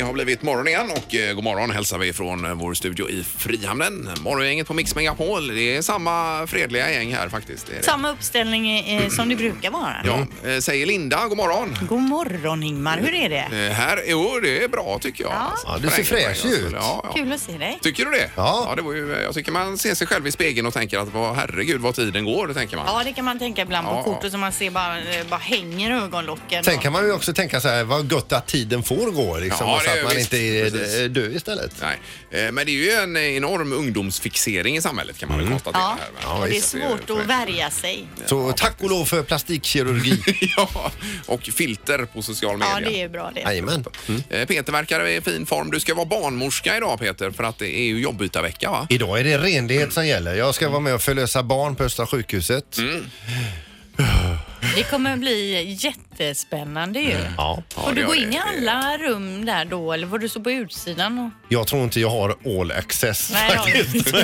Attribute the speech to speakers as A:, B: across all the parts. A: Eh, Vitt morgon igen och eh, god morgon hälsar vi från eh, vår studio i Frihamnen. Morgongänget på Mix Megapol. Det är samma fredliga gäng här faktiskt. Det är det.
B: Samma uppställning eh, som det brukar vara.
A: Ja,
C: Mm.
A: eh, säger Linda, god morgon.
B: God morgon Ingmar, hur är det?
A: Eh, här, jo, det är bra tycker jag.
B: Ja.
C: Ja, du ser
A: Spränger
C: fräsch
A: mig, alltså.
C: ut.
A: Ja, ja.
B: Kul att se dig.
A: Tycker du det?
C: Ja.
A: det var ju, jag tycker man ser sig själv i spegeln och tänker att vad, herregud vad tiden går, det tänker man.
B: Ja, det kan man tänka ibland
A: Ja,
B: på
A: ja.
B: kortet som man ser bara, eh, bara hänger ögonlocken.
C: Sen kan man ju också tänka så här, vad gött att tiden får gå liksom,
A: Ja,
C: och så
A: det är
C: att man
A: visst,
C: inte
A: precis.
C: är eh, död istället.
A: Nej. Eh, Men det är ju en enorm ungdomsfixering i samhället kan man
C: Mm.
A: väl konstatera.
B: Ja,
A: Här, va?
B: och det är
A: Så
B: svårt att värja sig.
C: Så tack och lov för plastikkirurgi.
A: Ja, och filter på social media.
B: Ja, det är bra det.
C: Jajamän.
A: Eh, Peter verkar i fin form. Du ska vara barnmorska idag Peter för att det är ju jobbytarvecka va?
C: Idag är det renlighet som gäller. Jag ska vara med och förlösa barn på Östra sjukhuset.
A: Mm.
B: Det kommer bli jättespännande ju.
C: Ja.
B: Får
A: det
B: du
A: gör
B: gå
A: det.
B: in i alla rum där då eller får du stå på utsidan? Och...
C: Jag tror inte jag har all access
B: Nej, jag har
C: faktiskt.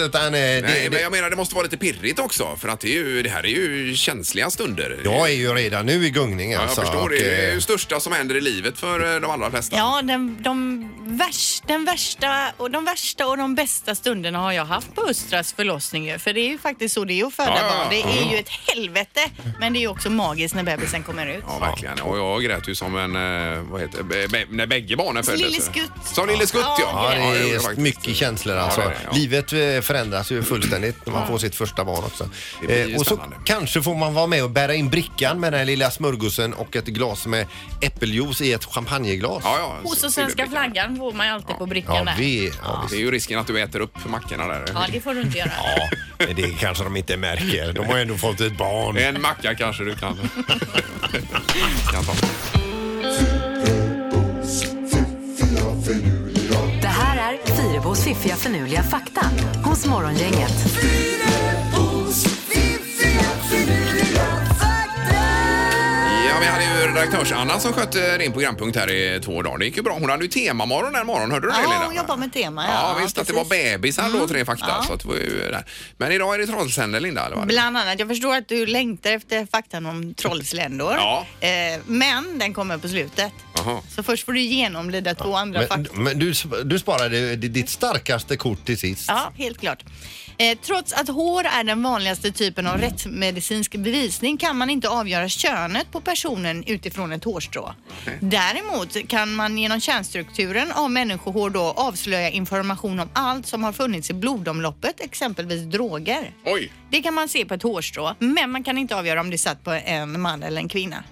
C: Utan, eh, det,
A: Nej, men
C: det,
A: jag menar det måste vara lite pirrigt också för att det, är ju, det här är ju känsliga stunder.
C: jag är ju redan nu i gungning
A: Ja, jag
C: alltså.
A: förstår.
C: och,
A: Det är
C: eh,
A: ju det största som händer i livet för eh, de allra flesta.
B: Ja, den, de värs, den värsta, och de värsta och de bästa stunderna har jag haft på Östras förlossning. ju. För det är ju faktiskt så det är att föda
A: Ja, ja,
B: barn. Det
A: ja.
B: är ju ett helvete, men det är ju också magiskt när bebisen kommer ut.
A: Ja, verkligen. Och jag grät ju som en... eh, Vad heter det? Be- när bägge barnen
B: Som
A: föddes.
B: lille skutt.
A: Som lille skutt, ja.
C: Ja, det
A: gjorde jag
C: är
A: faktiskt.
C: mycket känslor alltså.
A: Ja, det är det, ja.
C: Livet eh, förändras ju fullständigt när man får sitt första barn också.
A: Det blir ju
C: Eh, och så
A: spännande.
C: kanske får man vara med och bära in brickan med den här lilla smörgåsen och ett glas med äppeljuice i ett champagneglas.
A: Ja, ja.
B: Hos
A: Silverbrickan.
B: och svenska flaggan får man ju alltid på brickan
C: ja,
B: där.
C: vi, ja,
A: Det är ju risken att du äter upp mackorna där.
B: Ja, det får du inte göra.
C: vi, det kanske de inte märker. De har ju ändå fått ett barn.
A: En macka kanske du kan. kan ta.
D: Det här är Fyrabos fiffiga förnuliga fakta hos Morgongänget.
A: Ja, vi hade ju redaktörs-Anna som skötte din programpunkt här i två dagar. Det gick ju bra. Hon hade ju temamorgon den morgonen. Hörde du det
B: Ja,
A: Lena?
B: hon jobbar med tema.
A: Ja, visst att det var
B: precis. Mm,
A: bebisar då, tre fakta. Så att det var ju där. Men idag är det trollsänder Linda, eller vad?
B: Bland annat. Jag förstår att du längtar efter faktan om trollsländor.
A: Ja.
B: Eh, men den kommer på slutet.
A: Jaha.
B: Så först får du genomlida två andra
C: Men,
B: fakta.
C: men du, du sparade ditt starkaste kort till sist.
B: Ja, helt klart. Eh, trots att hår är den vanligaste typen av rättsmedicinsk bevisning kan man inte avgöra könet på personen utifrån ett hårstrå. Däremot kan man genom kärnstrukturen av människohår då avslöja information om allt som har funnits i blodomloppet, exempelvis droger.
A: Oj!
B: Det kan man se på ett hårstrå, men man kan inte avgöra om det satt på en man eller en kvinna.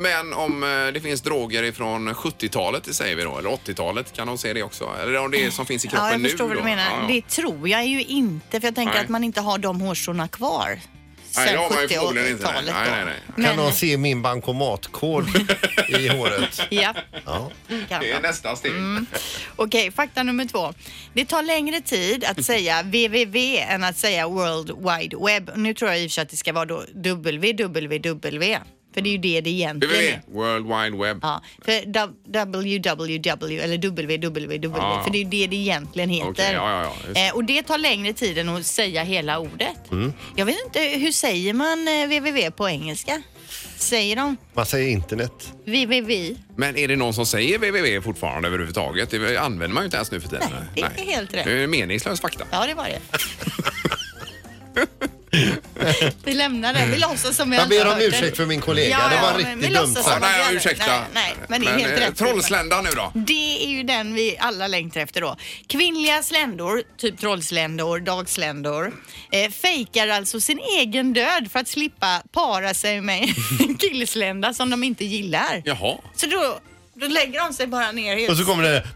A: Men om eh, det finns droger ifrån 70-talet, det säger vi då, eller 80-talet, kan de se det också? Eller om det är som finns i kroppen
B: Ja, jag
A: nu
B: förstår vad du
A: då?
B: menar.
A: Ja, ja.
B: Det tror jag ju inte, för jag tänker
A: Nej.
B: att man inte har de hårstråna kvar. Sen
A: Nej, det har man ju
B: 70 och
A: förmodligen inte. Nej,
B: 80-talet då.
A: nej, nej, nej.
C: Kan
B: Men,
C: de se min bankomatkod i håret?
B: Ja,
C: Ja.
B: kan
A: Det är
B: man.
A: nästa steg.
B: Mm, Okej, fakta nummer två. Det tar längre tid att säga www än att säga World Wide Web. Nu tror jag i och för sig att det ska vara då www. För det är ju det det egentligen
A: WWW,
B: är.
A: World Wide Web.
B: Ja, för www eller www,
A: Ah.
B: för det är ju det det egentligen heter.
A: Okej, ja, ja, ja, just det. Mm.
B: Eh, och det tar längre tid än att säga hela ordet. Jag vet inte, hur säger man eh, www på engelska? Säger de
C: Man säger internet.
B: www?
A: Men är det någon som säger www fortfarande överhuvudtaget? Det använder man ju inte ens nu för tiden.
B: Nej, det är helt rätt.
A: Det är ju meningslös fakta.
B: Ja, det var det. vi lämnar det. Vi låtsas som jag
C: Jag ber
B: inte
C: om
B: hört
C: ursäkt för min kollega.
B: Ja,
C: det
B: ja,
C: var
B: men vi
C: riktigt dumt
B: låtsas
A: Ja,
C: sagt.
B: som-
A: nej,
B: gör det.
A: ursätta.
B: Nej, nej, men det är helt
A: eh,
B: rätt.
A: Trollslända nu då.
B: Det är ju den vi alla längtar efter då. Kvinnliga sländor, typ trollsländor, dagsländor, eh, fejkar alltså sin egen död för att slippa para sig med en killslända som de inte gillar.
A: Jaha.
B: Så då, då lägger de sig bara ner helt
C: Och så kommer det...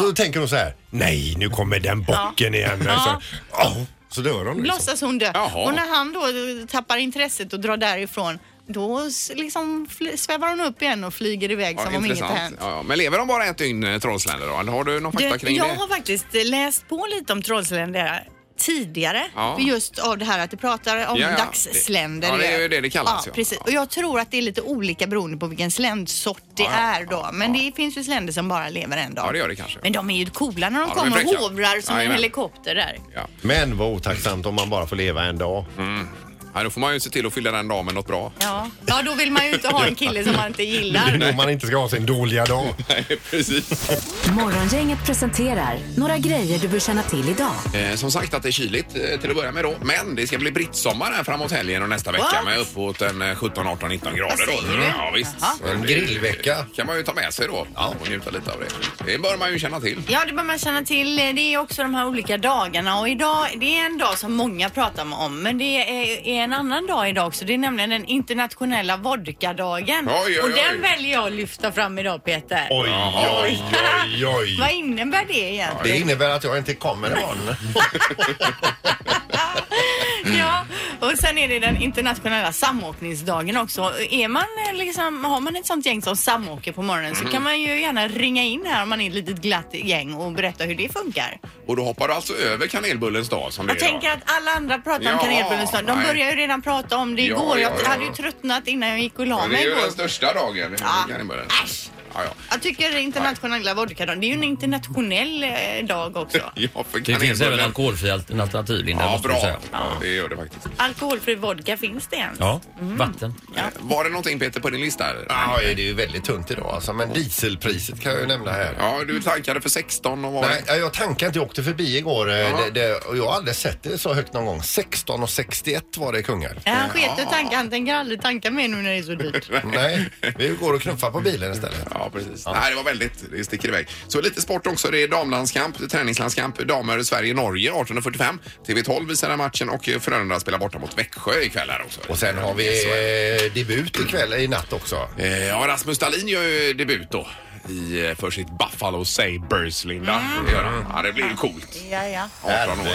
C: Då tänker hon så här. Nej, nu kommer den bocken igen.
B: Ja.
C: Så, oh, så dör de liksom.
B: Låtsas hon dö.
A: Jaha.
B: Och när han då tappar intresset och drar därifrån då s- liksom fl- svävar hon upp igen och flyger iväg
A: Ja,
B: som om inget
A: intressant.
B: hänt.
A: Ja, ja. Men lever de bara ett dygn, eh, trollsländor då? Eller har du någon fakta
B: Du,
A: kring
B: jag
A: det?
B: har faktiskt eh, läst på lite om trollsländor tidigare.
A: Ja.
B: Just av det här att det pratar om
A: Ja, ja.
B: dagsländor.
A: Ja, det är ju det det kallas, ja.
B: Ja, precis.
A: Ja.
B: Och jag tror att det är lite olika beroende på vilken sländsort det
A: Ja, ja,
B: är
A: ja,
B: då. Men det finns ju sländor som bara lever en dag.
A: Ja, det gör det kanske.
B: Men de är ju coola när de
A: Ja, de är
B: kommer
A: fräcka.
B: och hovrar som en
A: Jajamän.
B: helikopter där.
A: Ja.
C: Men vad otacksamt om man bara får leva en dag.
A: Ja, då får man ju se till att fylla den dagen med något bra.
B: Ja. ja, då vill man ju inte ha en kille som man inte gillar.
E: Om man inte ska ha sin dåliga dag.
A: Nej, precis.
D: Morgongänget presenterar några grejer du bör känna till idag.
A: Eh, som sagt att det är kyligt eh, till att börja med då. Men det ska bli brittsommar här framåt helgen och nästa vecka
B: What?
A: med uppåt en eh, 17, 18, 19 grader.
B: Vad
A: Då.
B: säger du?
A: Ja, visst.
E: En grillvecka.
A: kan man ju ta med sig då och njuta lite av det. Det bör man ju känna till.
B: Ja, det bör man känna till. Det är också de här olika dagarna och idag, det är en dag som många pratar om, men det är, är en annan dag idag också. Det är nämligen den internationella vodkadagen.
A: Oj, oj,
B: och
A: oj.
B: den väljer jag att lyfta fram idag, Peter.
E: Oj, oj, oj,
B: Vad
E: oj.
B: innebär det egentligen?
E: Det innebär att jag inte kommer imorgon.
B: Ja, och sen är det den internationella samåkningsdagen också. Är man eh, liksom, har man ett sånt gäng som samåker på morgonen
A: Mm.
B: så kan man ju gärna ringa in här om man är ett litet glatt gäng och berätta hur det funkar.
A: Och då hoppar du alltså över kanelbullens dag som det
B: Jag
A: är
B: tänker
A: idag.
B: att alla andra pratar om
A: Ja,
B: kanelbullens dag. De
A: nej.
B: började ju redan prata om det
A: Ja,
B: igår.
A: ja,
B: Jag
A: ja.
B: hade ju tröttnat innan jag gick och la
A: Men det
B: mig
A: är ju
B: igår.
A: den största dagen,
B: Ja.
A: kanelbullen.
B: Äsch!
A: Ja, ja.
B: Jag tycker internationella vodkadagen, det är ju en internationell eh, dag också.
A: Ja, för
F: Det finns även
A: kanelbullen.
F: alkoholfria alt- alternativ, Linda.
A: Ja,
F: måste jag
A: bra.
F: säga.
A: Ja, det gör det faktiskt.
B: Alkoholfri vodka, finns det ens?
F: Ja, vatten.
B: Ja.
A: Eh, Var det någonting Peter på din lista? här?
E: Ja, det är ju väldigt tunt idag alltså, men dieselpriset kan jag ju nämna här.
A: Ja, du tankade för 16 och var
E: Nej, ja, jag tankade inte. Jag åkte förbi igår. eh,
A: Ja.
E: Det, det, och jag har aldrig sett det så högt någon gång. 16,61 var det i Kungälv.
B: Ja, Han sket i tanken, han tänker aldrig tanka mer nu när det är så dyrt.
E: Nej, vi går och knuffar på bilen istället.
A: Ja, precis. Nej, det var väldigt. Det sticker iväg. Så lite sport också. Det är damlandskamp, träningslandskamp. Damer Sverige-Norge 18.45. TV12 visar den matchen och Frölunda spelar borta mot Växjö ikväll här också.
E: Och sen har vi
A: Så är det.
E: eh, debut ikväll, i natt också.
A: Eh, Ja, Rasmus Dahlin gör ju debut då. I, eh, för sitt Buffalo Sabres, Linda. Det gör han. Ja, det blir ju coolt.
B: Ja, ja.
A: 18 år.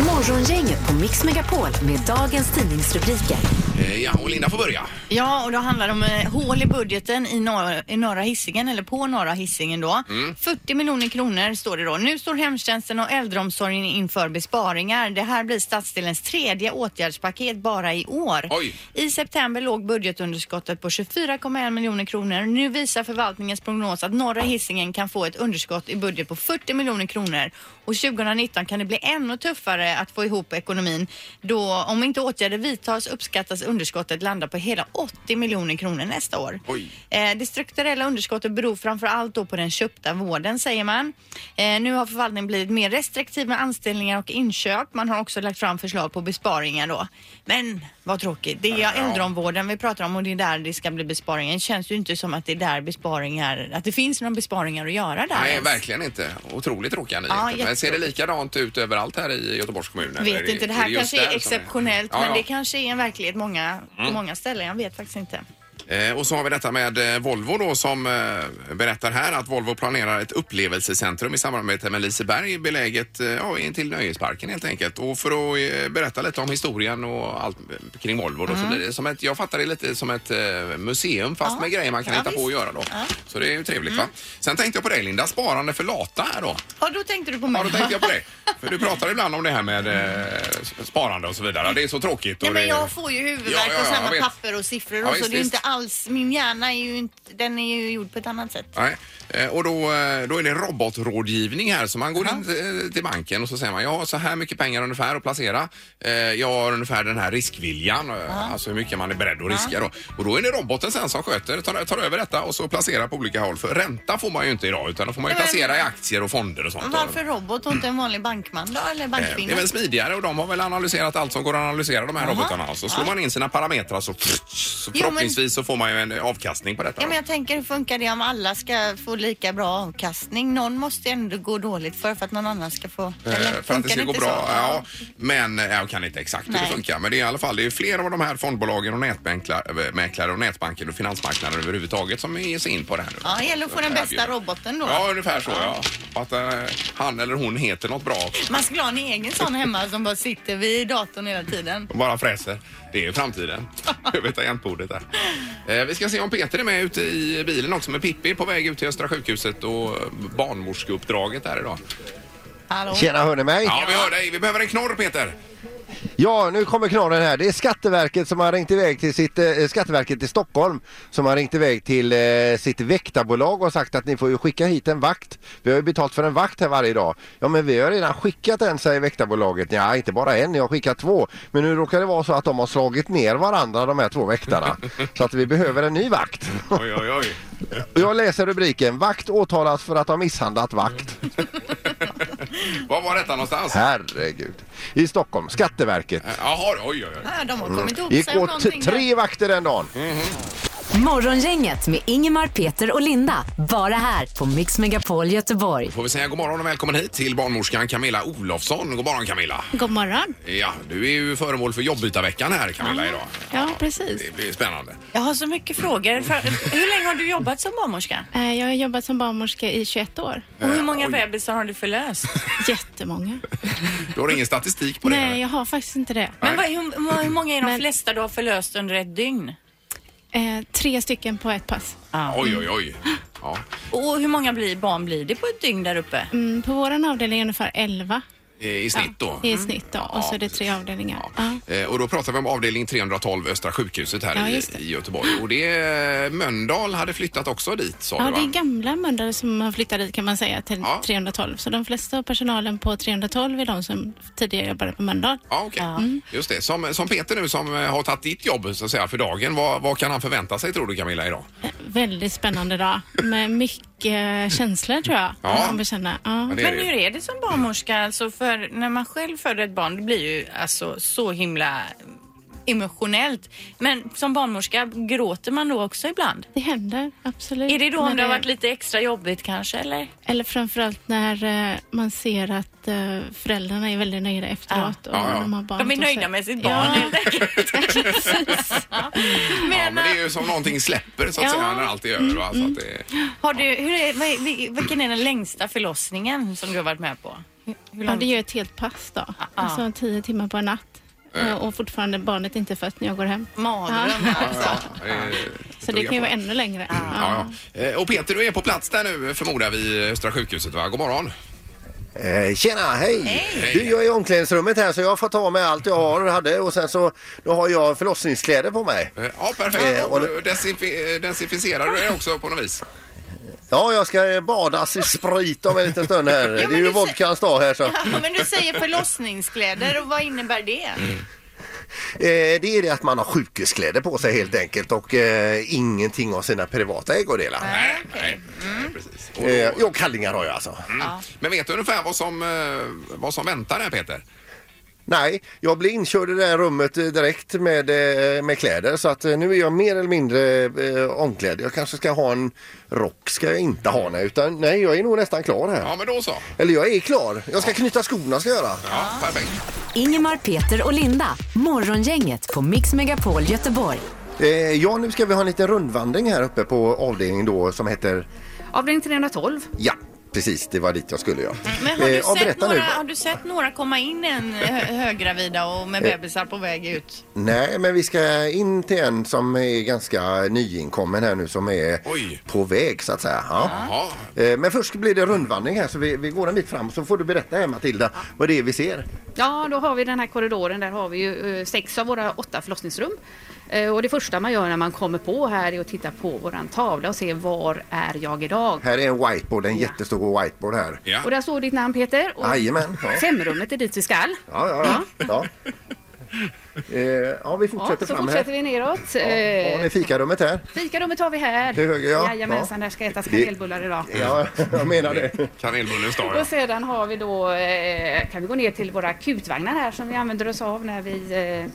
D: Morgongänget på Mix Megapol med dagens tidningsrubriker.
A: Eh, Ja, och Linda får börja.
B: Ja, och då handlar det om eh, hål i budgeten i norra, i norra Hisingen, eller på norra Hisingen då. 40 miljoner kronor står det då. Nu står hemtjänsten och äldreomsorgen inför besparingar. Det här blir stadsdelens tredje åtgärdspaket bara i år.
A: Oj.
B: I september låg budgetunderskottet på 24,1 miljoner kronor. Nu visar förvaltningens prognos att norra Hisingen kan få ett underskott i budget på 40 miljoner kronor. Och 2019 kan det bli ännu tuffare att få ihop ekonomin. Då, om inte åtgärder vidtas uppskattas underskottet landa på hela 80 miljoner kronor nästa år.
A: Oj.
B: Eh, det strukturella underskottet beror framför allt då på den köpta vården säger man. Eh, nu har förvaltningen blivit mer restriktiv med anställningar och inköp. Man har också lagt fram förslag på besparingar då. Men vad tråkigt. Det är
A: Ja.
B: äldreomvården vi pratar om och det är där det ska bli besparingar. Det känns ju inte som att det är där besparingar, att det finns några besparingar att göra där.
A: Nej,
B: ens.
A: verkligen inte. Otroligt tråkiga
B: Ja,
A: nyheter. Men ser det
B: jättetråkigt.
A: likadant ut överallt här i Göteborgs kommun? eller är
B: Vet inte, det här
A: är just
B: kanske är
A: där som
B: exceptionellt
A: Ja,
B: men
A: ja. Mm.
B: det kanske är en verklighet många, på många ställen. Jag vet faktiskt inte.
A: Eh, Och så har vi detta med eh, Volvo då som eh, berättar här att Volvo planerar ett upplevelsecentrum i samarbete med Liseberg beläget eh, ja, intill nöjesparken helt enkelt. Och för att eh, berätta lite om historien och allt eh, kring Volvo då, så blir det som ett, jag fattar det lite som ett eh, museum fast
B: Mm. Ja.
A: med grejer man kan
B: Ja,
A: hitta på
B: visst.
A: och göra då.
B: Ja. Mm.
A: Så det är ju trevligt va. Sen tänkte jag på dig Linda, sparande för lata här då.
B: Ja, då tänkte du på mig.
A: Ja, då tänkte jag på det. För du pratar ibland om det här med eh, sparande och så vidare. Det är så tråkigt. och
B: Nej, men
A: det-
B: jag får ju huvudvärk
A: Ja, ja,
B: och
A: ja, jag
B: samma
A: vet.
B: papper och siffror
A: Ja,
B: och så.
A: visst,
B: Det är ju
A: visst.
B: inte alls, min hjärna är ju inte, den är ju gjord på ett annat sätt.
A: Nej. eh, Och då, eh, då är det robotrådgivning här. Så man går in eh, till banken och så säger man jag har så här mycket pengar ungefär att placera. Eh, Jag har ungefär den här riskviljan, eh, alltså hur mycket man är beredd att riska då. Och då är det roboten sen som sköter, tar, tar över detta och så placerar på olika håll. För ränta får man ju inte idag utan då får man ju
B: Nej, men-
A: placera i aktier och fonder och sånt.
B: Varför robot och inte en vanlig bankman då, eller
A: Eh, Det
B: bankkvinna?
A: är väl smidigare och de har väl analyserat allt som går att analysera de här robotarna. Och Så slår man in sina parametrar så, så
B: men-
A: förhoppningsvis så får man ju en avkastning på detta.
B: Ja,
A: då.
B: men jag tänker, hur funkar det om alla ska få lika bra avkastning? Någon måste ändå gå dåligt för, för att någon annan ska få...
A: Eh, för att
B: funkar
A: det ska gå
B: inte
A: bra.
B: så?
A: Ja, men eh, jag kan inte exakt hur
B: Nej.
A: det funkar. Men det är i alla fall det är flera av de här fondbolagen och nätmäklare och nätbanker och finansmarknaden överhuvudtaget som ger sig in på det här nu.
B: Ja, det gäller att få den bästa roboten då.
A: Ja, ungefär så. Ja. Och Att eh, han eller hon heter något bra
B: Man skulle ha en egen sån hemma som bara sitter vid datorn hela tiden.
A: och bara fräser. Det är framtiden. Över tangentbordet där. Eh, Vi ska se om Peter är med ute i bilen också med Pippi på väg ut till Östra sjukhuset och barnmorskeuppdraget där idag.
B: Hallå?
E: Tjena, hör ni mig?
A: Ja, vi hör dig. Vi behöver en knorr Peter.
C: Ja, nu kommer knorren här. Det är Skatteverket som har ringt iväg till sitt, eh, Skatteverket i Stockholm som har ringt iväg till eh, sitt väktarbolag och sagt att ni får ju skicka hit en vakt. Vi har ju betalt för en vakt här varje dag. Ja, men vi har redan skickat en, säger väktarbolaget. Ja, inte bara en, jag har skickat två. Men nu råkar det vara så att de har slagit ner varandra, de här två väktarna. Så att vi behöver en ny vakt.
A: Oj, oj, oj.
C: Och Jag läser rubriken. Vakt åtalas för att ha misshandlat vakt.
A: Var var detta någonstans?
C: Herregud. I Stockholm, Skatteverket.
A: Jaha, oj, oj, oj.
B: Ja, de har kommit ihop
C: Mm. gick
B: sig om
C: åt
B: Mm.
C: t-
B: någonting. där.
C: tre vakter den dagen.
D: Morgongänget med Ingemar, Peter och Linda. Bara här på Mix Megapol Göteborg.
A: Får vi säga god morgon och välkommen hit till barnmorskan Camilla Olofsson. God morgon Camilla.
G: God morgon. Ja,
A: Ja, du är ju föremål för jobbytarveckan här Camilla idag.
G: precis.
A: Det blir spännande.
B: Jag har så mycket frågor. För, hur länge har du jobbat som barnmorska?
G: Eh, Jag har jobbat som barnmorska i 21 år.
B: Och hur många
A: Oj.
B: bebisar har du förlöst?
G: Jättemånga.
A: Du har ingen statistik på det?
G: Nej,
A: eller?
G: jag har faktiskt inte det.
B: Men vad, hur, hur många är de
G: Men-
B: flesta du har förlöst under ett dygn?
G: Eh, tre stycken på ett pass.
A: Oj, oj, oj. Ja.
B: Och hur många blir, barn blir det på ett dygn där uppe?
G: Mm, på vår avdelning är ungefär 11
A: eh, I snitt då?
G: i snitt. Då. Och så är det tre avdelningar. Ja.
A: Eh, Och då pratar vi om avdelning 312 Östra sjukhuset här
G: Ja,
A: i,
G: just det.
A: i Göteborg. Och det Mölndal hade flyttat också dit sa
G: Ja,
A: du va?
G: det är gamla mördare som har flyttat dit kan man säga till
A: Ja.
G: 312. Så de flesta av personalen på 312 är de som tidigare jobbade på Mölndal.
A: Ja, okej.
G: Mm.
A: Just det. Som, som Peter nu som eh, har tagit ditt jobb så att säga för dagen. Vad, vad kan han förvänta sig tror du Camilla idag?
G: Eh, Väldigt spännande dag med mycket känslor tror jag.
A: Ja.
G: Man bekänner. Ja.
A: Ja, det är
B: Men
A: det ju.
B: hur är det som barnmorska? Alltså för när man själv föder ett barn, det blir ju alltså så himla emotionellt. Men som barnmorska, gråter man då också ibland?
G: Det händer, absolut.
B: Är det då om
G: Men
B: det har varit lite extra jobbigt kanske, eller?
G: Eller framförallt när eh, man ser att eh, föräldrarna är väldigt nöjda efteråt. Och
A: Ja, ja.
G: De, har barn
B: De är
G: och
B: nöjda
G: så-
B: med sitt
G: Ja.
B: barn helt enkelt.
A: Ja, men
B: Men,
A: det är ju som någonting släpper så att
B: Ja.
A: säga när allt är över. Va?
G: Mm.
A: Så att det,
B: har du, hur är, vad, är- vil- vilken är den längsta förlossningen som du har varit med på? Hur- Hur
G: Ja,
B: lång
G: det gör ett helt pass då.
B: Ah,
G: Alltså tio timmar på en natt. Eh, Och fortfarande barnet inte är fött när jag går hem.
B: mardröm alltså?
A: ja, det är-
G: Så det kan ju vara ännu längre.
A: Ah, Ja, ja. Eh, Och Peter, du är på plats där nu förmodar vi, Östra sjukhuset va? God morgon.
C: Eh, tjena, hej! Du, jag är i omklädningsrummet här så jag får ta med allt jag har och hade och sen så då har jag förlossningskläder på mig.
B: Mm.
A: Eh, Ja, perfekt.
C: Eh, och-
A: Och du desinfi- eh, desinficerar du dig också på något vis?
C: Ja, jag ska eh, badas i sprit om en liten stund här. Det är
B: men
C: ju
B: du ser-
C: vodkans dag här så.
B: Ja, men du säger förlossningskläder och vad innebär det?
C: Eh, det är det att man har sjukhuskläder på sig helt enkelt och eh, ingenting av sina privata ägodelar.
A: Nej, nej. nej, Precis. Och
C: Eh,
A: då,
C: jo, kallingar har jag alltså.
A: Mm. men vet du ungefär vad som, eh, vad som väntar där Peter?
C: Nej, jag blev inkörd i det här rummet eh, direkt med, eh, med kläder så att eh, nu är jag mer eller mindre eh, omklädd. Jag kanske ska ha en rock, ska jag inte ha nej, utan nej, jag är nog nästan klar här.
A: Ja, men då så.
C: Eller jag är klar. Jag ska knyta skorna ska jag göra.
A: Ja, perfekt.
D: Ingemar, Peter och Linda. Morgongänget på Mix Megapol Göteborg.
C: Eh, ja, nu ska vi ha en liten rundvandring här uppe på avdelningen då som heter...
H: Avdelning 312.
C: Ja, precis. Det var dit jag skulle ja.
B: Men har,
C: Eh,
B: du
C: ja,
B: sett
C: berätta
B: några, har du sett några komma in en eh, hö- höggravida och med bebisar på väg ut?
C: Nej, men vi ska in till en som är ganska nyinkommen här nu som är
A: Oj.
C: på väg så att säga. Ja.
A: Jaha.
C: Eh, Men först blir det rundvandring här så vi, vi går en bit fram så får du berätta här Matilda vad det är vi ser.
H: Ja, då har vi den här korridoren. Där har vi ju eh, sex av våra åtta förlossningsrum. Eh, Och det första man gör när man kommer på här är att titta på våran tavla och se var är jag idag?
C: Här är en whiteboard, en jättestor whiteboard här.
A: Ja.
H: Och där står ditt namn Peter. Och
C: Jajamän. Ja.
H: Femrummet är dit vi skall.
C: Ja, ja, ja. ja. Eh, ja, vi
H: Ja,
C: fortsätter
H: så
C: fram
H: fortsätter
C: här.
H: vi neråt.
C: Ja, ja, det är
H: Eh,
C: fikarummet här.
H: Fikarummet har vi här.
C: Till höger, ja.
H: Jajamensan,
C: Ja.
H: där ska ätas
C: Det-
H: kanelbullar idag.
C: Ja, jag menar det.
A: Kanelbullens dag, ja.
H: Och sedan har vi då, eh, kan vi gå ner till våra akutvagnar här som vi använder oss av när vi eh,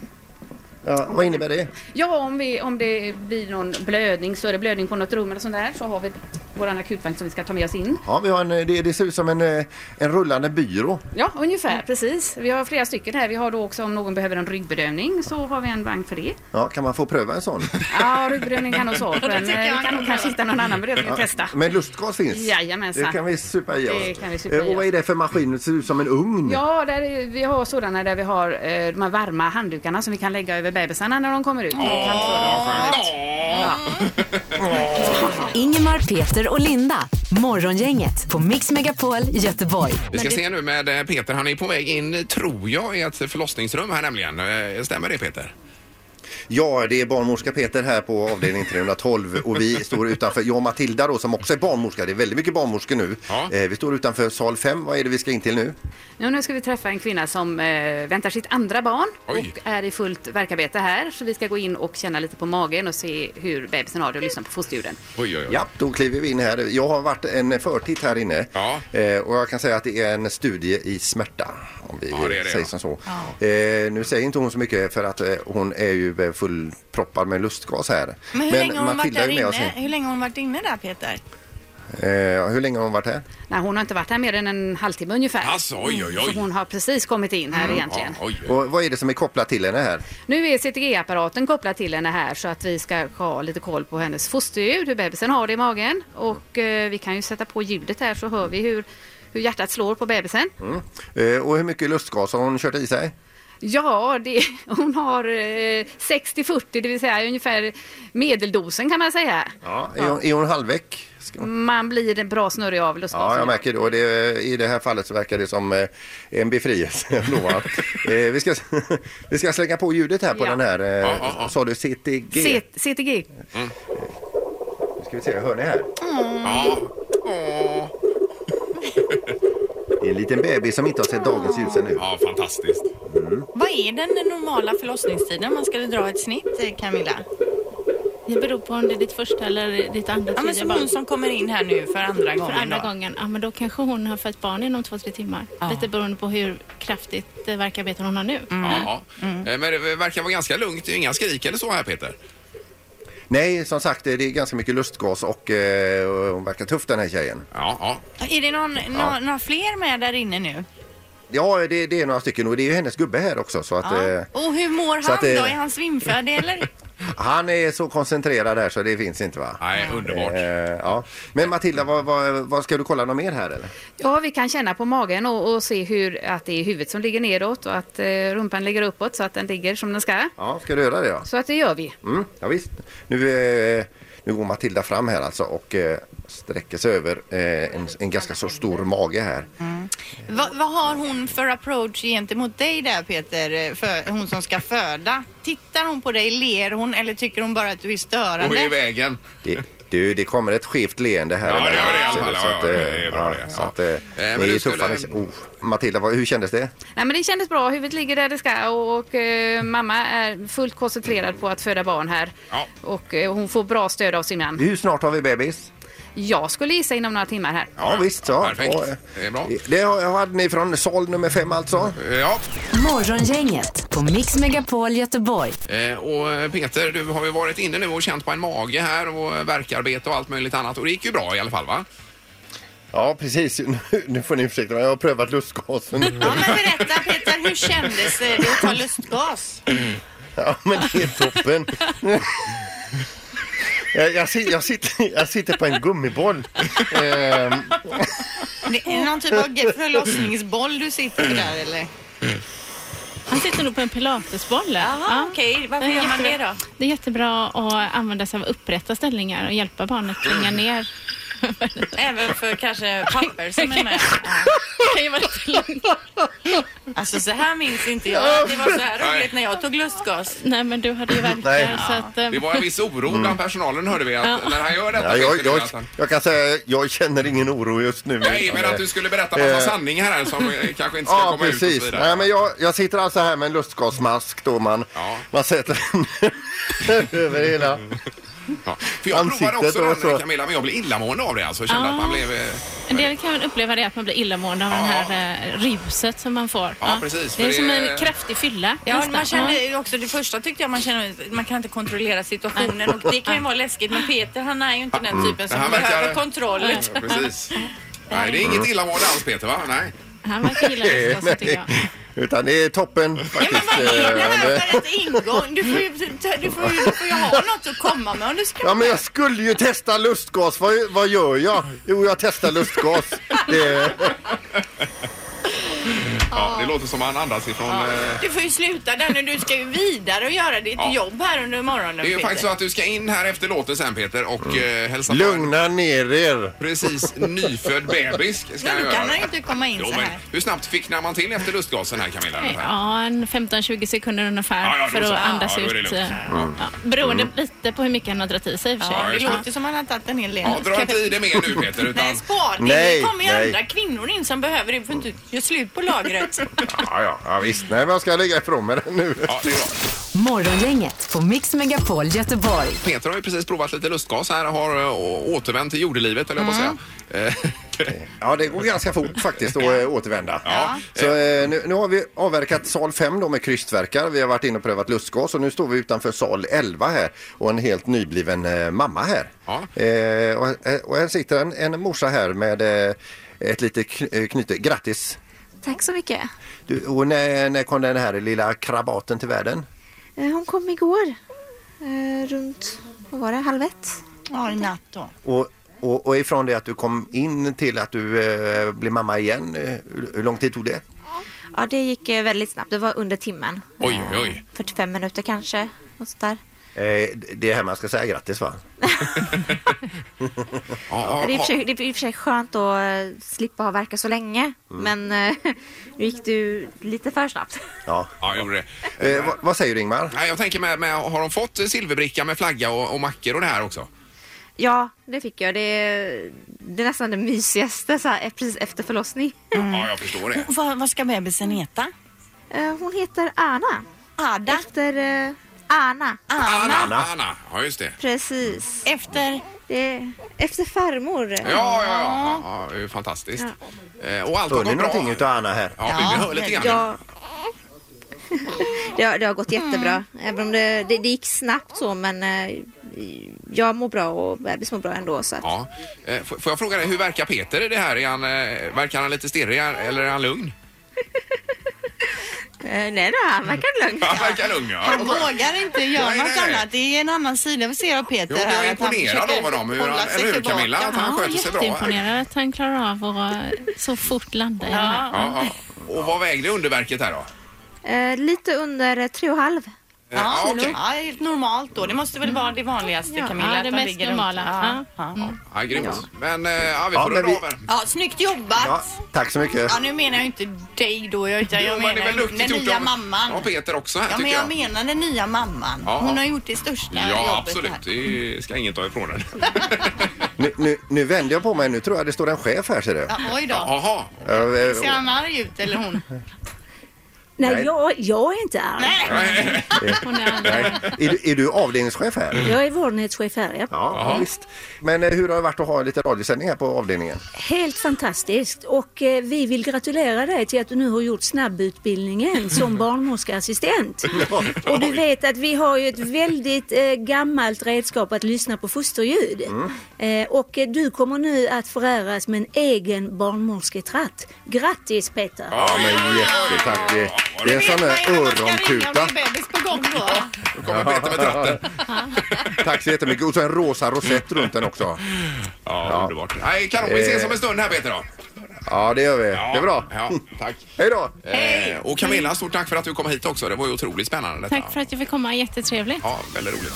C: Ja, vad innebär det?
H: Ja, om, vi, om det blir någon blödning, större blödning på något rum eller sånt där så har vi vår akutvagn som vi ska ta med oss in.
C: Ja, vi har en, eh, det, det ser ut som en, eh, en rullande byrå.
H: Ja, ungefär precis. Vi har flera stycken här. Vi har då också om någon behöver en ryggbedövning så har vi en vagn för det.
C: Ja, kan man få pröva en sån?
H: Ja, ryggbedövning kan hos oss, men eh, vi kan nog kanske hitta någon annan bedövning att testa.
C: Men lustgas finns?
H: Jajamensan.
C: Det kan vi supa i oss.
H: Det kan vi supa i
C: Eh, Och vad är det för maskin? Det ser ut som en ugn.
H: Ja, där är, vi har sådana där vi har eh, de här varma handdukarna som vi kan lägga över bebisarna när de kommer ut.
A: Ja, skönt.
D: Ingemar, Peter Peter och Linda. Morgongänget på Mix Megapol Göteborg.
A: Vi ska se nu med eh, Peter. Han är på väg in, tror jag, i ett förlossningsrum här nämligen. Eh, Stämmer det Peter?
C: Ja, det är barnmorska Peter här på avdelning 312 och vi står utanför, jag och Matilda då som också är barnmorska, det är väldigt mycket barnmorskor nu.
A: Ja.
C: Eh, Vi står utanför sal 5, vad är det vi ska in till nu?
H: Ja, nu ska vi träffa en kvinna som eh, väntar sitt andra barn
A: Oj.
H: och är i fullt verkarbete här. Så vi ska gå in och känna lite på magen och se hur bebisen har det och lyssna på fosterljuden.
A: Oj, oj, oj.
C: Ja, då kliver vi in här. Jag har varit en förtitt här inne
A: Ja.
C: Eh, och jag kan säga att det är en studie i smärta om vi
A: Ja, det är det,
C: säger
A: ja.
C: som så. Eh, nu säger inte hon så mycket för att eh, hon är ju eh, fullproppad med lustgas här.
B: Men hur länge har hon varit
C: Matilda
B: där
C: är med oss
B: inne? Hur länge har hon varit inne där Peter?
C: nu. Eh, hur länge har hon varit här?
H: Nej, hon har inte varit här mer än en halvtimme ungefär.
A: Alltså, oj, oj,
H: Så
A: oj.
H: hon har precis kommit in här egentligen.
A: Ja, oj, oj.
C: Och vad är det som är kopplat till henne här?
H: Nu är CTG-apparaten kopplad till henne här så att vi ska ha lite koll på hennes fosterljud, hur bebisen har det i magen. Och eh, vi kan ju sätta på ljudet här så hör vi hur, hur hjärtat slår på bebisen.
C: Eh, och hur mycket lustgas har hon kört i sig?
H: Ja, det, hon har eh, 60-40, det vill säga ungefär medeldosen kan man säga.
C: Ja. Är, hon, är hon halvväck? Ska hon...
H: Man blir en bra snurrig av lustgasen.
C: Ja, jag märker det. Och det, i det här fallet så verkar det som eh, en befrielse. ändå, va? eh, vi, ska, vi ska slänga på ljudet här på
H: Ja.
C: den här, eh,
A: Ja, ja, ja.
C: sa du CTG?
H: C- CTG.
C: Ska vi se, hör ni här?
A: Ja. Åh.
C: Det är en liten bebis som inte har sett dagens ljus ännu.
A: Ja, fantastiskt.
B: Vad är den normala förlossningstiden? Man skulle dra ett snitt eh, Camilla.
G: Det beror på om det är ditt första eller ditt
B: Ja
G: andra,
B: men
G: tredje
B: som
G: barn.
B: hon som kommer in här nu för andra
G: För
B: gången.
G: andra
B: då.
G: gången, ja men då kanske hon har fött barn inom två, tre timmar.
B: Ja.
G: Lite beroende på hur kraftigt eh, värkarbete hon har nu.
B: Mm.
A: Jaha. Eh, Men det verkar vara ganska lugnt. Inga skrik eller så här Peter.
C: Nej, som sagt, eh, det är ganska mycket lustgas och eh, hon verkar tuff den här tjejen.
A: Ja, ja.
B: Är det någon, nå- några fler med där inne nu?
C: Ja, det, det är några stycken och det är ju hennes gubbe här också så att
B: Ja.
C: eh,
B: Och hur mår
C: så
B: han
C: att,
B: då?
C: eh,
B: Är han svimfärdig eller?
C: han är så koncentrerad här så det finns inte va?
A: Nej, underbart.
C: Eh, ja. Men Matilda, vad, vad, vad ska du kolla något mer här eller?
H: Ja, vi kan känna på magen och, och se hur att det är huvudet som ligger nedåt och att eh, rumpan ligger uppåt så att den ligger som den ska.
C: Ja, ska du göra det då?
H: Så att det gör vi.
C: Mm, ja, visst. Nu, eh, nu går Matilda fram här alltså och eh, sträcker sig över eh, en, en ganska så stor mage här.
B: Va, vad har hon för approach gentemot dig där Peter? eh, För hon som ska föda. Tittar hon på dig, ler hon eller tycker hon bara att du är
A: Och i
B: störande?
A: vägen.
C: Det, du, det kommer ett skevt leende här.
A: Ja, det
C: emellan,
A: gör det i alla
C: ser du,
A: fall.
C: så
A: Ja,
C: att,
A: ja,
C: eh,
A: det är bra det.
C: ja,
A: Ja. men
C: Så att, eh, ni
A: du
C: är tuffa.
A: skulle-
C: Oh, Matilda, vad, hur kändes det?
H: Nej, men det kändes bra. Huvudet ligger där det ska och, och eh, mamma är fullt koncentrerad på att föda barn här.
A: Ja.
H: Och eh, hon får bra stöd av sin man.
C: Hur snart har vi bebis?
H: Jag skulle gissa inom några timmar här.
C: Ja, visst. Så.
A: perfekt.
C: Och, eh,
A: Det är bra. Mm.
C: Det har- hade ni från sal nummer fem alltså.
A: Eh, Ja,
D: Morgongänget på Mix Megapol Göteborg.
A: Eh, och Peter, du har ju varit inne nu och känt på en mage här och eh, verkarbete och allt möjligt annat och det gick ju bra i alla fall va?
C: Ja, precis. Nu, nu får ni ursäkta mig. Jag har prövat lustgasen.
B: Ja men berätta Peter, hur kändes det att ta lustgas?
C: Ja, men det är toppen. Jag, jag, sit- jag, sitter, jag sitter på en gummiboll. Ehm,
B: Det är någon typ av ge- förlossningsboll du sitter där eller?
G: Han sitter nog på en pilatesboll. där. Ja.
B: okej. Varför
G: gör man
B: det då?
G: Det är jättebra att använda sig av upprätta ställningar och hjälpa barnet
A: Mm.
G: tränga ner.
B: Även för kanske papper som är med. Alltså så här minns inte jag att det var så här roligt när jag tog lustgas.
G: Nej, men du hade ju
C: Nej.
G: verkar så att... eh,
A: Det var en viss oro bland personalen hörde vi att när han gör detta
C: Mm. ja, jag,
A: Peter,
C: jag,
A: att han-
C: jag kan säga jag känner ingen oro just nu.
A: Nej, men att du skulle berätta massa
C: Eh.
A: sanningar här som eh, kanske inte ska
C: Ja,
A: komma ut och så
C: precis.
A: vidare.
C: Nej, men jag, jag sitter alltså här med en lustgasmask då man,
A: Ja.
C: man sätter den över hela.
A: ja. För jag
C: Ansiktet
A: provade också
C: och
A: den
C: så.
A: Camilla, men jag blev illamående av det alltså. Kände att man blev... eh,
G: En del kan väl uppleva det att man blir illamående av
A: Ja.
G: det här eh, ruset som man får. Ja,
A: precis, för
G: Det är
A: det
G: som
A: är-
G: en kraftig fylla.
B: Ja,
G: nästan.
B: man kände ju också det första tyckte jag man kände man kan inte kontrollera situationen och det kan ju vara läskigt men Peter han är ju inte den typen som
A: Han verkar-
B: behöver kontroll.
A: Ja, precis. Nej, det är
C: Mm.
A: inget illamående alls Peter va? Nej.
G: Ja, Han verkar gilla det så, tycker jag.
C: Utan det är toppen
B: Ja, men
C: faktiskt.
B: vad är det här
C: eh,
B: för ett ingång? Du får ju, du får ju, du får ju ha något att komma med om du ska
C: Ja men jag skulle ju testa lustgas, vad, vad gör jag? Jo jag testar lustgas. Det,
A: Ja, det låter som han andas ifrån... eh,
B: Du får ju sluta där nu. Du ska ju vidare och göra ditt
A: Ja.
B: jobb här under morgonen.
A: Det är ju
B: Peter.
A: faktiskt så att du ska in här efter låten sen Peter och
C: Mm.
A: eh, hälsa på en
C: Lugna ner er.
A: precis nyfödd bebis. Ska
B: Men
A: jag
B: du
A: göra.
B: kan han inte komma in
A: Jo,
B: så
A: men
B: här.
A: hur snabbt ficknar man till efter lustgasen här Camilla? ungefär?
G: Ja, en 15-20 sekunder ungefär
A: Ja, ja, då
G: för
A: så.
G: att andas
A: Ja, Mm. då är det
G: ut. eh,
A: lugnt.
G: Ja, beroende lite på hur mycket han har dragit i sig i och för sig.
B: Ja, det
A: just
B: låter som att han har tagit en hel del.
A: Ja, dra inte i det mer nu Peter utan...
B: Nej, spar det.
C: Nej,
B: det kommer ju
C: nej.
B: andra kvinnor in som behöver det. Du får inte göra slut på lagret.
C: Ja, ja, ja visst. Nej, men jag ska lägga ifrån mig den nu.
A: Ja, det är bra.
D: Morgongänget på Mix Megapol Göteborg.
A: Peter har ju precis provat lite lustgas här och har eh, å- återvänt till jordelivet, eller jag på att
I: Mm.
A: säga. Eh,
C: Ja, det går ganska fort faktiskt att eh, återvända.
A: Ja.
C: Så, eh, nu, nu har vi avverkat sal 5 då med krystverkar. Vi har varit inne och prövat lustgas och nu står vi utanför sal 11 här och en helt nybliven eh, mamma här.
A: Ja.
C: Eh, och, eh, och här sitter en, en morsa här med eh, ett litet kn- eh, knyte. Grattis!
I: Tack så mycket.
C: Du, och när, när kom den här lilla krabaten till världen?
I: Eh, Hon kom igår. eh, Runt, vad var det, halv ett?
B: Ja, i natt då.
C: Och, och, och ifrån det att du kom in till att du eh, blev mamma igen, eh, hur, hur lång tid tog det?
I: Ja, det gick eh, väldigt snabbt. Det var under timmen.
A: Oj, oj, oj.
I: 45 minuter kanske. Och sådär.
C: Eh, det är här man ska säga grattis va?
A: Ja,
I: Det är i och för sig, det är i och för sig skönt att eh, slippa ha verka så länge.
A: Mm.
I: Men eh, nu gick du lite för snabbt.
C: Ja.
A: ja, jag gjorde det.
C: Eh, vad, vad säger du Ingmar?
A: Nej, jag tänker med, med, har de fått silverbricka med flagga och, och mackor och det här också?
I: Ja, det fick jag. Det är, det är nästan det mysigaste så här, precis efter förlossning.
A: Ja, jag förstår det.
B: Vad, vad ska bebisen heta?
I: Eh, Hon heter Anna.
B: Ada.
I: Efter eh, Anna.
A: Anna, Anna. Ja, just det.
I: Precis.
B: Efter...
I: Det är, efter farmor.
A: Ja, ja, ja. ja, ja det är ju fantastiskt. Eh, Och allt har
C: Hör ni
A: gått bra.
C: någonting utav Anna här?
A: Ja, vi vi hör lite grann.
I: Ja. Det har, det har gått jättebra.
B: Mm.
I: Även om det, det, det gick snabbt så men eh, jag mår bra och bebis mår bra ändå. Så att,
A: Ja. Eh, f- Får jag fråga dig, hur verkar Peter i det här? Är han, eh, verkar han lite stirrig eller är han lugn?
I: eh, nej, nej, han verkar lugn.
A: Han verkar lugn, ja.
B: Han vågar inte göra
A: Nej, nej,
B: något
A: nej.
B: annat. Det är en annan sida vi ser av Peter
A: Jo, men jag
B: här.
A: är
B: att han
A: imponerad
B: försöker
A: av honom, hur
B: hålla
A: han,
B: sig
A: eller hur
B: tillbaka.
A: Camilla? Att han
G: Ja,
A: sköter sig bra. här.
G: jätteimponerad att han klarar av att eh, så fort landa i det här.
A: Ja, ja. Och vad vägde underverket här då?
I: Eh, lite under eh, tre och halv.
A: Eh,
B: Ja,
A: ja, okej. Mm.
B: ja, helt normalt då. Det måste väl vara det vanligaste Camilla?
G: Ja,
B: att
G: det
B: de
G: mest
B: ligger runt.
G: normala. Ja. Mm.
A: Ja, grymt. Men eh, ja, vi
C: Ja,
A: får
C: men
A: runda
C: vi-
A: av här.
B: Ja, snyggt jobbat!
C: Ja,
B: Ja.
C: tack så mycket.
B: nu menar jag inte dig då, jag- utan
A: Jo, men
B: jag
A: det är
B: menar
A: väl duktigt
B: den
A: gjort
B: nya
A: av-
B: mamman.
A: av Peter också här,
B: Ja, men
A: tycker
B: jag menar den nya mamman.
A: Ja.
B: Hon har gjort det största
A: Ja,
B: jobbet
A: absolut.
B: här.
A: Det ska ingen ta ifrån den.
C: Nu, nu, nu vänder jag på mig, nu tror jag det står en chef här ser du.
B: Ja, oj då.
A: Jaha.
C: Eh, eh,
B: Ser han arg ut eller hon?
I: Nej,
C: Nej.
I: Jag, jag är inte arg.
B: Nej!
G: Hon är
C: nej. Är, du- är du avdelningschef här?
I: Jag är vårdnadschef här. ja.
C: Ja, ja, visst. Men eh, hur har det varit att ha lite radiosändning här på avdelningen?
J: Helt fantastiskt och eh, vi vill gratulera dig till att du nu har gjort snabbutbildningen som barnmorskeassistent. Och du vet att vi har ju ett väldigt eh, gammalt redskap att lyssna på fosterljud. Eh, och eh, du kommer nu att föräras med en egen barnmorsketratt. Grattis Peter!
C: Ja, men jättetack. Det, det är en sån här
B: Vad är det man ska ringa om det
C: örontuta.
B: är bebis på gång då?
A: Nu kommer Peter med tratten.
C: Tack så jättemycket. Och så en rosa rosett runt den också.
A: Ja, underbart. Nej, kanon. Vi ses om en stund här, Peter. Då.
C: Ja, det gör vi.
A: Ja,
C: Det är bra.
A: Ja, tack.
C: Hej då!
A: Eh, och Camilla, stort tack för att du kom hit också. Det var ju otroligt spännande detta.
G: Tack för att jag fick komma, jättetrevligt.
A: Ja, väldigt roligt.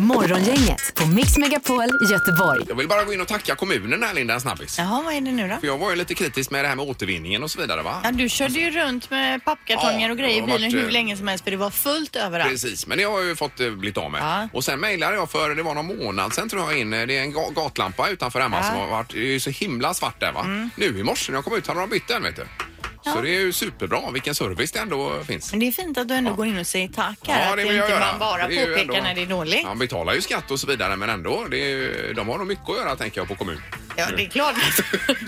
D: Morgongänget på Mix Megapol Göteborg.
A: Jag vill bara gå in och tacka kommunen här, Linda, en snabbis.
B: Jaha, vad är det nu då?
A: För jag var ju lite kritisk med det här med återvinningen och så vidare, va?
B: Ja, du körde ju runt med pappkartonger
A: Ja,
B: och grejer i
A: det har
B: bilen
A: varit,
B: hur
A: eh,
B: länge som helst för det var fullt överallt.
A: Precis, men det har jag ju fått eh, blivit av med.
B: Ja.
A: Och sen mejlade jag för, det var någon månad sen tror jag in, eh, det är en ga- gatlampa utanför hemma som har varit, det är ju så himla svart där va. Nu i morse när jag kom ut hade de bytt den vet du. Så det är ju superbra, vilken service det ändå finns.
B: Men det är fint att du ändå går in och säger tack här. att
A: vill jag
B: inte
A: göra.
B: man bara
A: Det är ju
B: påpekar
A: ändå-
B: när det är dåligt.
A: Man betalar ju skatt och så vidare men ändå, det är, ju- de har nog mycket att göra tänker jag på kommun.
B: Ja, det är klart.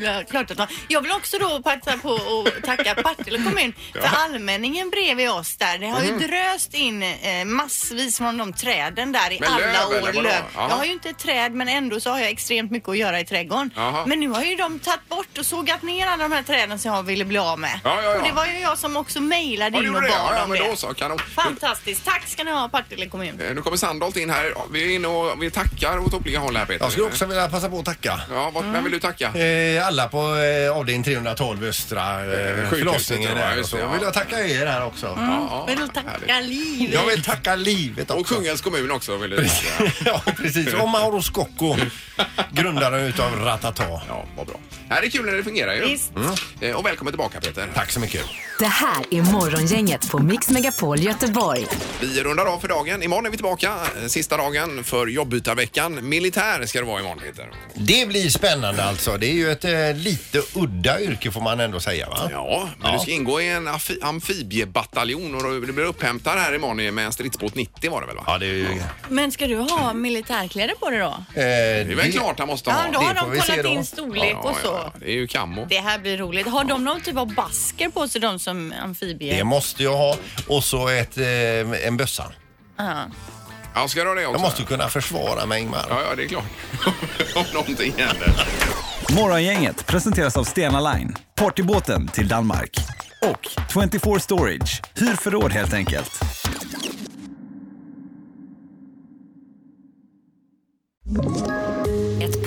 B: Ja, klart att man. Jag vill också då passa på att tacka Partille kommun för allmänningen bredvid oss där. Det har ju
A: Mm.
B: dröst in eh, massvis från de träden där i
A: Men
B: alla
A: löv, eller
B: år.
A: vadå?
B: Löv. Jag
A: Jaha.
B: har ju inte ett träd men ändå så har jag extremt mycket att göra i trädgården.
A: Jaha.
B: Men nu har ju de tagit bort och sågat ner alla de här träden som jag ville bli av med.
A: Ja, ja, ja.
B: Och det var ju jag som också mejlade
A: Ja, du
B: in och
A: gjorde
B: bad
A: det? Ja, ja,
B: om
A: men
B: det.
A: då så, kanon.
B: Fantastiskt. Tack ska ni ha Partille kommun.
A: Eh, Nu kommer Sandholt in här. Ja, Vi är inne och vi tackar åt olika håll här Peter.
E: Jag skulle också vilja passa på att tacka.
A: Ja, vad underbart. Vem vill du tacka?
E: Eh, Alla på eh, avdelning 312 Östra eh,
A: sjukhuset,
E: förlossningen.
A: ja,
E: där och
A: just
E: så.
A: det, ja.
E: Jag vill jag tacka er här också.
C: Mm.
A: Ja,
B: Vill du tacka livet?
E: Jag vill tacka livet
A: Och
E: också.
A: Kungälvs kommun också vill du tacka.
E: Ja, precis. Och Mauro Scocco, grundaren utav Ratata.
A: Ja, vad bra. Det här är kul när det fungerar ju.
B: Visst.
E: Mm.
A: Eh, Och välkommen tillbaka Peter.
E: Tack så mycket.
D: Det här är Morgongänget på Mix Megapol Göteborg.
A: Vi rundar av för dagen. Imorgon är vi tillbaka. eh, Sista dagen för jobbytarveckan. Militär ska det vara imorgon Peter.
E: Det blir spännande alltså. Det är ju ett eh, lite udda yrke får man ändå säga va?
A: Ja, men
E: Ja.
A: du ska ingå i en amfi- amfibiebataljon och du blir upphämtad här imorgon med en stridsbåt 90 var det väl va?
E: Ja, det är ju...
B: Men ska du ha militärkläder på dig då?
E: Eh,
A: Det är väl klart han måste ha.
B: Ja, då har
E: det får
B: de
E: vi se
B: kollat
E: då.
B: in storlek och så.
A: ja. Det är ju kammo.
B: Det här blir roligt. Har de någon typ av basker på sig, de som amfibier?
E: Det måste jag ha. Och så ett, eh, en bössa.
B: Ja.
A: Ja, ska du ha det också?
E: Jag måste ju kunna försvara mig Ingmar.
A: Ja, ja, det är klart. Om någonting händer.
K: Morgongänget presenteras av Stena Line, partybåten till Danmark. Och 24 Storage, hyr förråd helt enkelt.
D: Ett